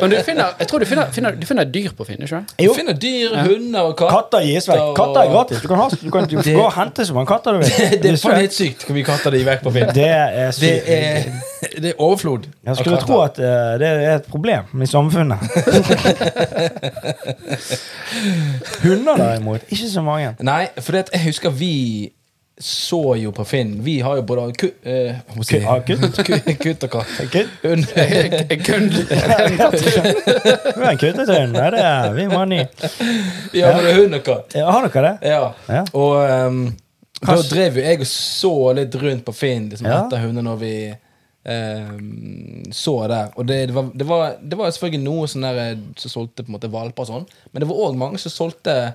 Men du finner, jeg tror du finner, finner, du finner dyr på Finn, ikke [laughs] sant?
Du finner dyr, hunder og katter.
Katter gis vekk. Katter er gratis. Du kan, ha, du kan du får gå og hente så mange katter du vil.
[laughs] Det er
Hvis du-
faen helt sykt hvor mye katter de gikk vekk på Finn.
Det er sykt.
Det er, [laughs] det er overflod.
Jeg skulle tro at eh, det er et problem i samfunnet. Hunder, derimot, ikke så mange.
Nei, for det, at jeg husker vi så jo på Finn Vi har jo både ku, eh, hva må jeg si?
Kutt- ah, kutt?
[laughs] Ku- kutt og katt.
Kutt?
Hund. [laughs]
Jeg kunne-
Vi har en kuttetøy. Nei, det er vi må ha ny.
Ja, både hund og katt.
Eh, Har dere det?
Ja.
Ja.
Og ehm, da
Kanskje-
drev jo jeg og så litt rundt på Finn liksom,
Ja.
etter hunder når vi ehm, så der. Og det, det, var, det, var, det var selvfølgelig noe sånn der eh, som solgte på en måte valper og sånn, men det var òg mange som solgte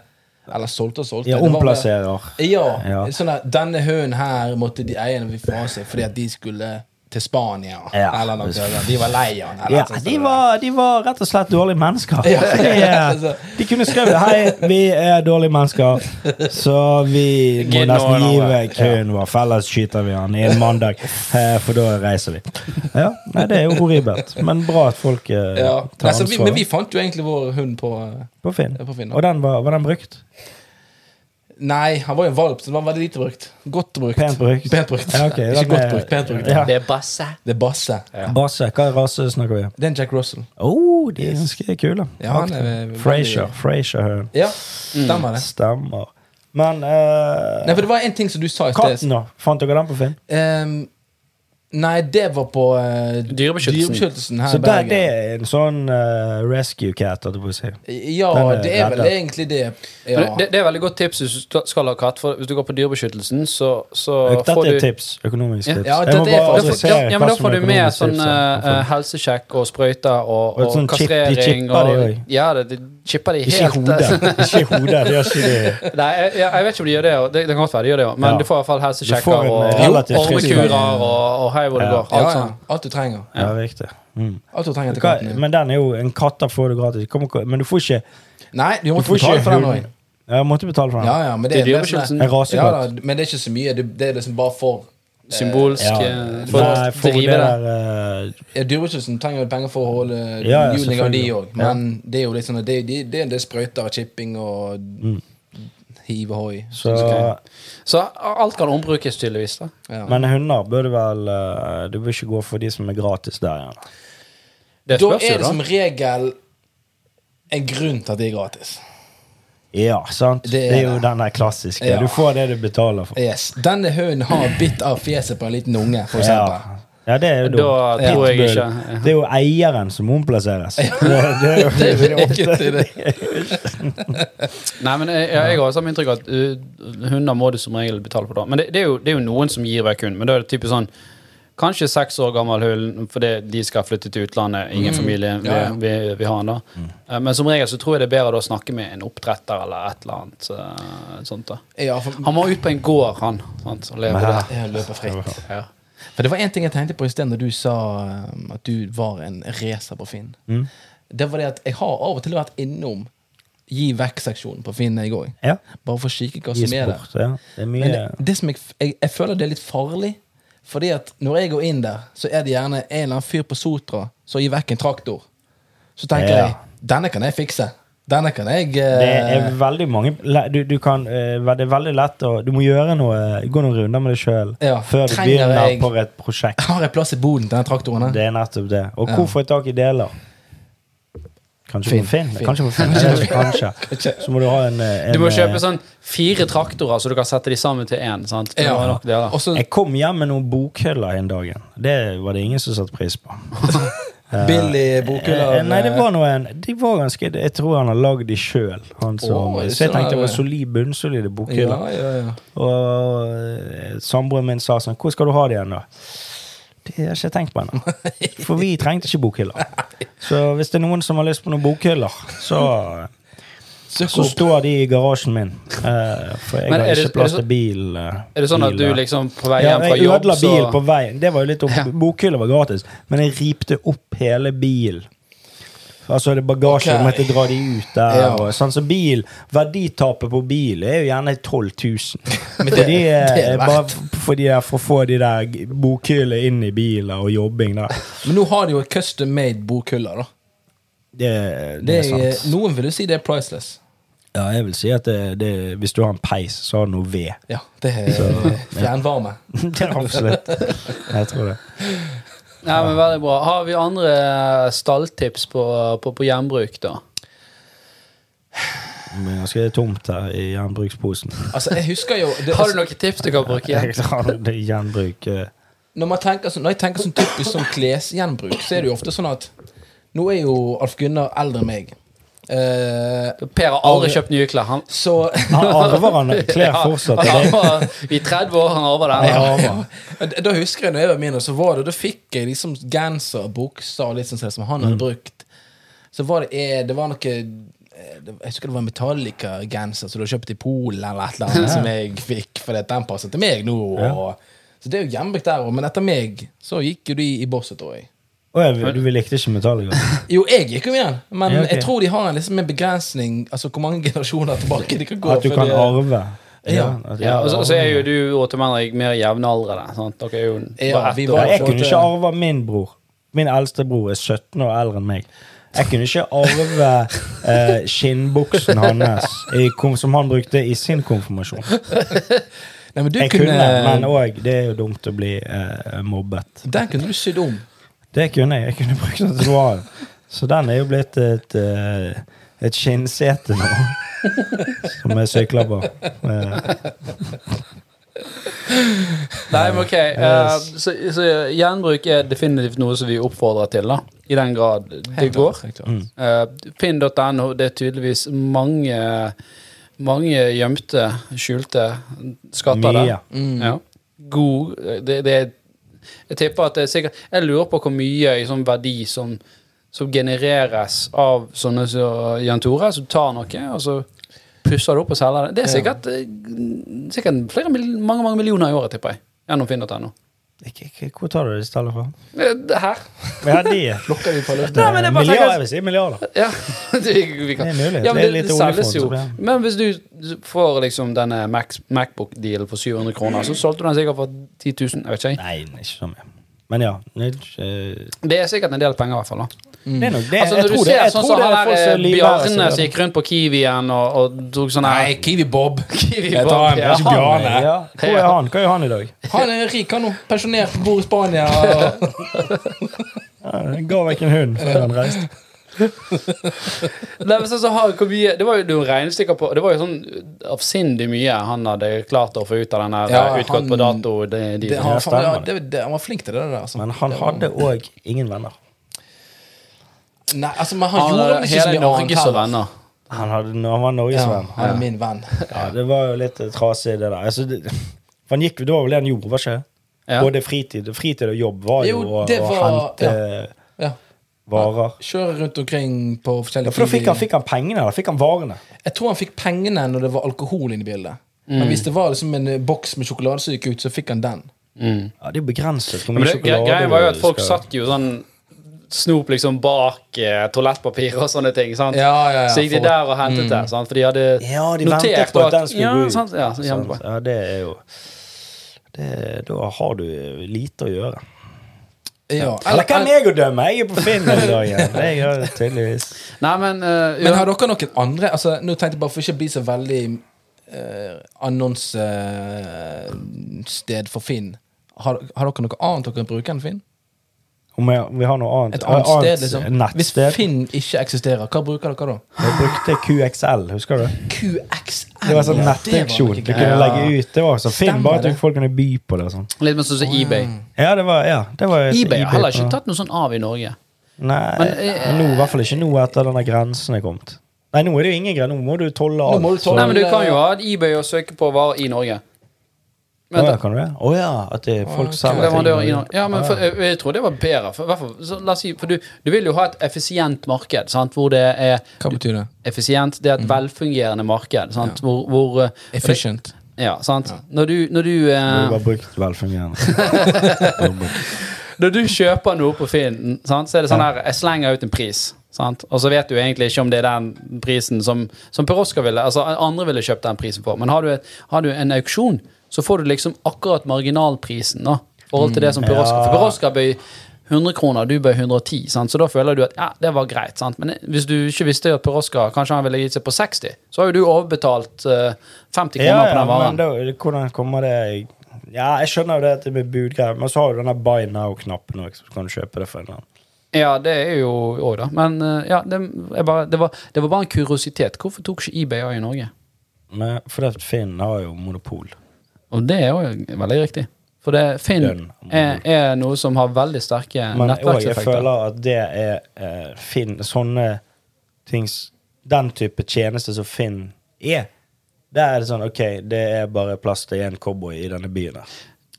Eller solgte og solgte.
Ja,
Det var mer-
omplasserer.
Ja.
Ja.
Sånn der, denne hunden her måtte de eierne fra seg fordi at de skulle til Spania.
Ja.
Eller noe sånt. De var lei av den. eller
Ja,
sånn som
de
det
var, de var rett og slett dårlige mennesker.
[laughs] Ja. altså.
De, eh, de kunne skrevet 'Hei, vi er dårlige mennesker, så vi må
Gidd nå,
nesten gi
nå,
vekk hunden vår, for ellers skyter vi han i en mandag, eh, for da reiser vi'. Ja, nei, Det er jo horribelt, men bra at folk eh,
Ja.
tar
Nei, så vi, men vi
ansvar
fant jo egentlig vår hund på eh,
på Finn.
Ja, på Finn, ja.
Og den var, var den brukt?
Nei, han var jo en valp, så den var veldig lite brukt. Godt brukt.
Pent brukt.
Pent brukt.
Ja, ok, den
[laughs] Ikke godt
er-
brukt, pent brukt.
Ja.
Det er basse.
Det er Basse.
Basse, hva rase snakker vi om?
Det er en Jack Russell.
Oh, de er ganske kule.
Ja, han er veldig-
Frasier. Frasier-hunden.
Ja,
Mm.
stemmer det.
Stemmer. Men
Nei,
eh,
for det var en ting som du sa i sted.
Katten, da? Fant dere den på Finn?
Ehm, nei, det var på eh,
Dyrebeskyttelsen.
Dyrebeskyttelsen her
Så
i
der,
Bergen.
det er en sånn eh, rescue cat, holdt jeg på å si.
Ja,
Den er
det er vel
reddet.
egentlig det. Ja.
Men Det, det er veldig godt tips hvis du skal ha katt. For hvis du går på Dyrebeskyttelsen, så, så
Dette
får
er
du
et tips. Økonomisk
Ja,
tips.
ja,
jeg må
dette er
bare
Da,
faktisk-
adressere
får- ja, ja, men da
Altså, hva som
får
er
du med
økonomisk
sånn
tips her.
eh, helsesjekk og sprøyter og,
Og
og,
sånn chip- de
kastrering.
chipper de
og,
også.
ja, det, de chipper de
Ikke i
helt.
hodet. Ikke i hodet. Det gjør ikke det.
[laughs] Nei, jeg, jeg jeg vet ikke om de gjør det, og det, det kan godt være de gjør det også, men
Ja.
du får i hvert fall
Du får
helsesjekker
en
og
relativt frisk
ormekurer
verden.
og, og hei hvor det
Ja.
går.
Ja,
Alt
ja.
sånn.
Alt du trenger.
Ja, riktig. Mm.
Alt du trenger til
Hva,
katten.
men den er jo en katt, da får du gratis. Kom, og- men du får ikke
Nei, du
Du
måtte
får ikke
betale for den
hund.
òg.
Ja, jeg måtte betale for den.
Ja, ja, men
Det
det
er
er mer sånn-
dyrebeskyttelsen.
En
ja, da,
rasekatt.
men det er ikke så mye. Det, det er liksom bare for
Symbolsk
Ja.
eh, for
Nei,
å
for det
drive det.
der eh,
ja, Dyrebeskyttelsen trenger jo penger for å holde
Ja, ja,
juling av de
selvfølgelig.
òg, men det er jo litt sånn at det, det, det er en del sprøyter og chipping og hiv og hoi.
Mm. Så
Så alt kan ombrukes tydeligvis. da.
Ja.
Men hunder bør du vel eh, Du bør ikke gå for de som er gratis der igjen.
Det
Da
spørs jo,
er det sånn
da.
som regel en grunn til at de er gratis.
Ja, sant?
Det
Det
er
er, jo den der klassiske.
Ja.
Du får det du betaler for.
Yes. Denne hunden har bitt av fjeset på en liten unge, for eksempel.
Ja. ja, det er jo dumt.
Da tror jeg
Pitbull.
ikke
Det er jo eieren som
[laughs]
omplasseres. Det, [laughs] det er jo
Det er jo
ofte
egentlig det.
Nei, men jeg, jeg har også samme inntrykk at eh, uh, hunder må du som regel betale for. da Men det, det, er jo, det er jo noen som gir vekk hund, men da er det typisk sånn Kanskje seks år gammel hull fordi de skal flytte til utlandet.
Mm.
Ingen familie vi,
Ja, ja.
vi, vi har da. Eh, Men som regel så tror jeg det er bedre da å snakke med en oppdretter eller et eller annet. eh, sånt da.
Ja, for,
Han må ut på en gård, han. Sant, og leve
Men her-
der.
jeg løper fritt.
Ja.
For det var en ting jeg tenkte på i sted når du sa um, at du var en racer på Finn.
Mm.
Det var det at jeg har av og til vært innom gi vekk-seksjonen på Finn jeg òg.
Ja.
Bare for å kikke hva
Gi
som er der.
sport, ja. Det er
Men
mye
det, det som jeg, f- jeg, jeg føler det er litt farlig. Fordi at når jeg går inn der, så er det gjerne en eller annen fyr på Sotra som gir vekk en traktor. Så tenker
Ja.
jeg denne kan jeg fikse. Denne kan jeg eh,
Det er veldig mange le- du, du kan, eh, Det er veldig lett å Du må gjøre noe, gå noen runder med deg sjøl
Ja.
før du
Trenger
begynner
jeg-
på et prosjekt.
[laughs] Har jeg plass i boden til den traktoren? her?
Det er nettopp det. Og
Ja.
hvor får jeg tak i deler? Kanskje
Finn.
på Finn.
Finn.
Kanskje på Finn. Kanskje. Kanskje. Så må du ha en, eh, en
Du må kjøpe
eh,
sånn fire traktorer, så du kan sette de sammen til én. sant? Det var
Ja.
nok det, da.
Og så
Jeg kom hjem med noen bokhyller en dag. Det var det ingen som satte pris på.
billig
Eh,
bokhyller.
Nei, det var noen De var ganske Jeg tror han har lagd de sjøl.
Åh,
så jeg
sånn er
tenkte det var
det.
solid, bunnsolide bokhyller.
ja, ja, ja.
Og eh, samboeren min sa sånn Hvor skal du ha det igjen, da? Det har jeg ikke tenkt på ennå.
[laughs]
For vi trengte ikke bokhyller. Så hvis det er noen som har lyst på noen bokhyller, så,
Søkk
så
opp.
står de i garasjen min. Eh, for jeg
Men
har
er det-
ikke plass
er det
til bil. eh,
Er det sånn at
bil
du
der.
liksom på vei
ja,
hjem fra
jeg
jobb,
ødela bil
så
på veien. Det var jo litt
Ja.
opp, Bokhylla var gratis, men jeg ripte opp hele bilen. Altså det bagasje,
Ok.
jeg måtte dra de ut der.
Ja.
Og, sånn, så bil, verditapet på bil er jo gjerne 12 000.
[laughs] Men det-
Fordi, eh,
det er verdt.
bare f- for, de der, for å få de der g- bokhyllene inn i biler og jobbing der.
Men nå har de jo custom made bokhyller, da.
Det,
Det
det er
er,
sant.
noen vil jo si det er priceless.
Ja, jeg vil si at det, det, hvis du har en peis, så har du noe ved. [laughs]
Ja, det er fjernvarme.
det er absolutt. Jeg tror det.
Nei, men Veldig bra. Har vi andre stalltips på, på, på gjenbruk, da?
altså, Det blir ganske tomt her i gjenbruksposen.
Altså, jeg husker jo det,
Har du noen tips du kan bruke?
[laughs] Jeg har det i
[laughs]
gjenbruk. eh.
når, man tenker, sånn- når jeg tenker sånn typisk som klesgjenbruk, så er det jo ofte sånn at Nå er jo Alf Gunnar eldre enn meg. Eh,
Per har aldri kjøpt nye klær. Han
så
Han arver han klær
[laughs] Ja,
fortsatt.
han
og
arver- I 30 år han arver den.
Ja.
[laughs] Da husker jeg når jeg var mindre, så var det, da fikk jeg liksom genser og bukser og litt sånn som han hadde brukt. Så var det, eh, det var noe eh, det- Jeg husker det var en Metallica-genser som du har kjøpt i Polen, eller et eller annet, som jeg fikk fordi at den passet til meg nå. Og, så det er jo gjenbruk der òg, men etter meg så gikk jo de i bosset òg.
det- Å, jeg- du likte ikke Metallica?
Jo, jeg gikk jo igjen, men
Ja, ok.
jeg tror de har en, liksom, en begrensning. Altså hvor mange [laughs] generasjoner tilbake de kan gå.
At du
før
kan
de-
arve?
Ja.
at du
Ja, og så,
arver.
så er jo du og Tom Henrik mer jevnaldrende. sant? Dere er jo
Ja,
bare
vi
ett
var-
år.
Ja, jeg
for
kunne
at-
ikke arve min bror. Min eldste bror er 17 år eldre enn meg. Jeg kunne ikke arve eh, skinnbuksen hans i, kom- som han brukte i sin konfirmasjon.
Nei, men du
Jeg
kunne,
kunne, men òg Det er jo dumt å bli eh, mobbet.
Den kunne du sydd
Mm.
om.
Det kunne jeg. Jeg kunne brukt den til noe annet. Så den er jo blitt et, eh, et skinnsete nå. Som jeg sykler på. Eh,
Nei, men ok. eh, så, så gjenbruk er definitivt noe som vi oppfordrer til, da. I den grad det
Helt
går.
klart, helt klart.
Eh, Finn.no, det er tydeligvis mange mange gjemte, skjulte skatter
Mye.
der. Ja. God det, det, er- Jeg tipper at det er sikkert Jeg lurer på hvor mye i sånn verdi som, som genereres av sånne som Jan Tore, som tar noe, og så pusser det opp og selger det. Det er sikkert, eh, sikkert flere, mil- mange mange millioner i året, tipper jeg. Gjennom Finn.no.
ikke- ikke- Hvor tar du det stallet fra?
Eh, det Her.
Ja, de
Plukker vi på luften.
Nei, men jeg bare
Milliarder,
tenker-
jeg vil si milliarder.
Ja, [laughs] det, vi kan.
Det er mulig.
Ja, men
Det
det, det,
er litt
selges
oljefond, så
jo.
blir det.
Men hvis du får liksom denne Mac, Macbook-dealen for 700 kroner, så solgte du den sikkert for 10 000. Jeg vet ikke.
Nei, ikke så mye. Men ja. Det, er ikke-
jeg. Det er sikkert en del penger, i hvert fall. da.
det er nok det.
Altså,
jeg
Når du
tror det,
ser
jeg
sånn
tror
som
det er
han
folk som
der
er
eh,
livvære som
Bjarne
gjør
som
det.
gikk rundt på Kiwien og, og tok sånn her
Nei, Kiwi Bob. [laughs]
Kiwi
Jeg tar en
Bob, ja.
Bjarne. Bjarne.
Ja. Hvor er han? Hva gjør han i dag?
[laughs] Han er rik, han nå. Pensjonert, bor i Spania.
Ja, han Ga vekk en hund før han reiste.
Nei, men så, så har, hvor mye, det var jo noen regnestykker på Det var jo sånn avsindig mye han hadde klart å få ut av den her
Ja,
eh, utgått
han-
på dato. Det, de,
Det, han,
Ja,
faen, ja,
stemmer
det, det, han var flink til det der. Altså.
Men han
Det var-
hadde òg ingen venner.
Nei, altså, men han,
han
gjorde vel
hadde
ikke så
hele
mye annet
Norge som
heller.
venner.
Han, hadde, han var
Ja,
norgesvenn.
han er min venn.
Ja, det var jo litt eh, trasig, det der. Altså, det, for han gikk, det var vel det han gjorde, var ikke det?
Ja.
Både fritid, fritid og jobb var jo,
Jo,
å-
det
å
var-
hente
Ja.
varer.
Kjøre rundt omkring på
Ja,
forskjellige
for da fikk han, fikk han pengene, da fikk han varene.
Jeg tror han fikk pengene når det var alkohol inne i bildet. Men hvis det var liksom en eh, boks med sjokolade som gikk ut, så fikk han den.
Ja, det er jo begrenset hvor
Men
mye
det,
sjokolade
greia var jo at
du
folk
skal-
satt jo sånn snop liksom bak eh, toalettpapir og sånne ting. sant?
Ja, ja, ja,
så gikk de
for-
der og hentet det, sant? for de hadde
Ja, de ventet
notert
på at den skulle
ja,
gå ut.
Sant? Ja, så jævlig
Sant?
bra.
ja, det er jo det, Da har du lite å gjøre.
Ja.
Eller
Eller,
kan
eller,
jeg jo dømme? Jeg er på Finn den dagen. Det gjør [laughs] jeg tydeligvis.
Nei, men, eh, jo,
men har dere noen andre altså, Nå tenkte jeg bare for ikke å bli så veldig eh, annonsested for Finn. Har, har dere noe annet dere kan bruke enn Finn?
Om jeg, vi har noe annet,
Et annet sted, liksom? Hvis
nettsted.
Finn ikke eksisterer, hva bruker dere da?
Jeg brukte QXL, husker du?
QXL.
Det var sånn
ja, det
nettauksjon.
var noe
Du
greier.
kunne legge ut det var sånn. Finn,
Stemmer
bare
det.
at folk kunne by på det. og Sånn.
litt mer sånn som eBay.
Ja, det var, ja, det var et
eBay har heller
på-
ikke tatt noe sånn av i Norge.
Nei,
Men, eh,
nå, i hvert fall ikke nå etter denne grensen er kommet. Nei, nå er det jo ingen grense. Nå må du tolle alt.
Nå må du tolle.
Nei, men Du kan jo ha et eBay og søke på varer i Norge.
Å
Vent
ja,
da.
kan du det? Å ja, Ah, at det er folk selger ting.
Leverandører i Norge. Ja, men for, eh, jeg, jeg tror det var bedre. For, i hvert fall, så, la oss si, for du, du vil jo ha et effisient marked, sant? hvor det er
Hva betyr det?
effisient. Det er
Mm.
et velfungerende marked. Sant? Hvor, hvor, eh,
Efficient.
Ja, sant? Når du, når du,
Du
eh,
har brukt velfungerende.
når du kjøper noe på Finn, sant? så er det sånn her Jeg slenger ut en pris. Sant? Og så vet du egentlig ikke om det er den prisen som, som Per Oscar ville Altså andre ville kjøpt den prisen for. Men har du, et, har du en auksjon, så får du liksom akkurat marginalprisen. da i forhold til det som Per
Mm, Ja.
Oscar For Per Oscar bøy 100 kroner, du bøy 110, sant? så da føler du at ja, det var greit. Sant? Men hvis du ikke visste at Per Oscar kanskje han ville gitt seg på 60, så har jo du overbetalt eh, 50 kroner
ja,
på
ja,
den
men
varen.
da, hvordan kommer det Ja, jeg skjønner jo det at det blir budgreier, men så har du denne buy now-knappen òg, så kan du kjøpe det for en eller annen.
Ja, det er jo òg, da. Men eh, ja, det, jeg bare, det, var, det var bare en kuriositet. Hvorfor tok ikke eBay av i Norge?
Men fordi at Finn har jo monopol.
Og det er jo veldig riktig. For det, Finn
Den-
er, er noe som har veldig sterke
Men òg jeg
nettverkseffekter.
føler at det er eh, Finn Sånne ting s- Den type tjenester som Finn er, der er det sånn OK, det er bare plass til én cowboy i denne byen her.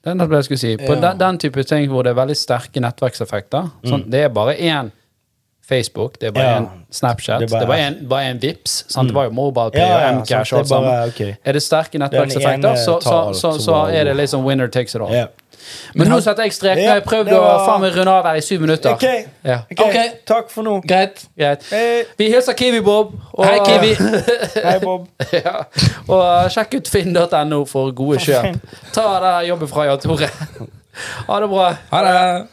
Det er nettopp det jeg skulle si. På
Ja.
den, den type ting hvor det er veldig sterke nettverkseffekter sånn, Det er bare én Facebook, det er bare
Mm. Ja.
én Snapchat,
Det
det
er bare- Mm.
er bare én- bare én Vipps. Sant? Det var jo MobilePay
Ja, ja,
og Mcash
sant,
og alt
det er bare-
sammen.
ok.
Er det sterke
ene
nettverkseffekter, så, så,
tar alt
så,
som
så
var
er det
god.
liksom winner takes it all.
Ja.
Men nå setter jeg strek. Nå har jeg prøvd
Ja, det
å
var-
faen meg runde av her i syv minutter.
OK.
Ja.
ok,
Ok.
Takk for nå.
Greit.
Greit.
Hei.
Vi hilser Kiwi Bob. Og,
Hei, Kiwi.
Hei, Bob.
[laughs] ja, og eh, sjekk ut finn.no for gode kjøp. Ta den jobben fra Jan Tore. [laughs] Ha det bra.
Ha det.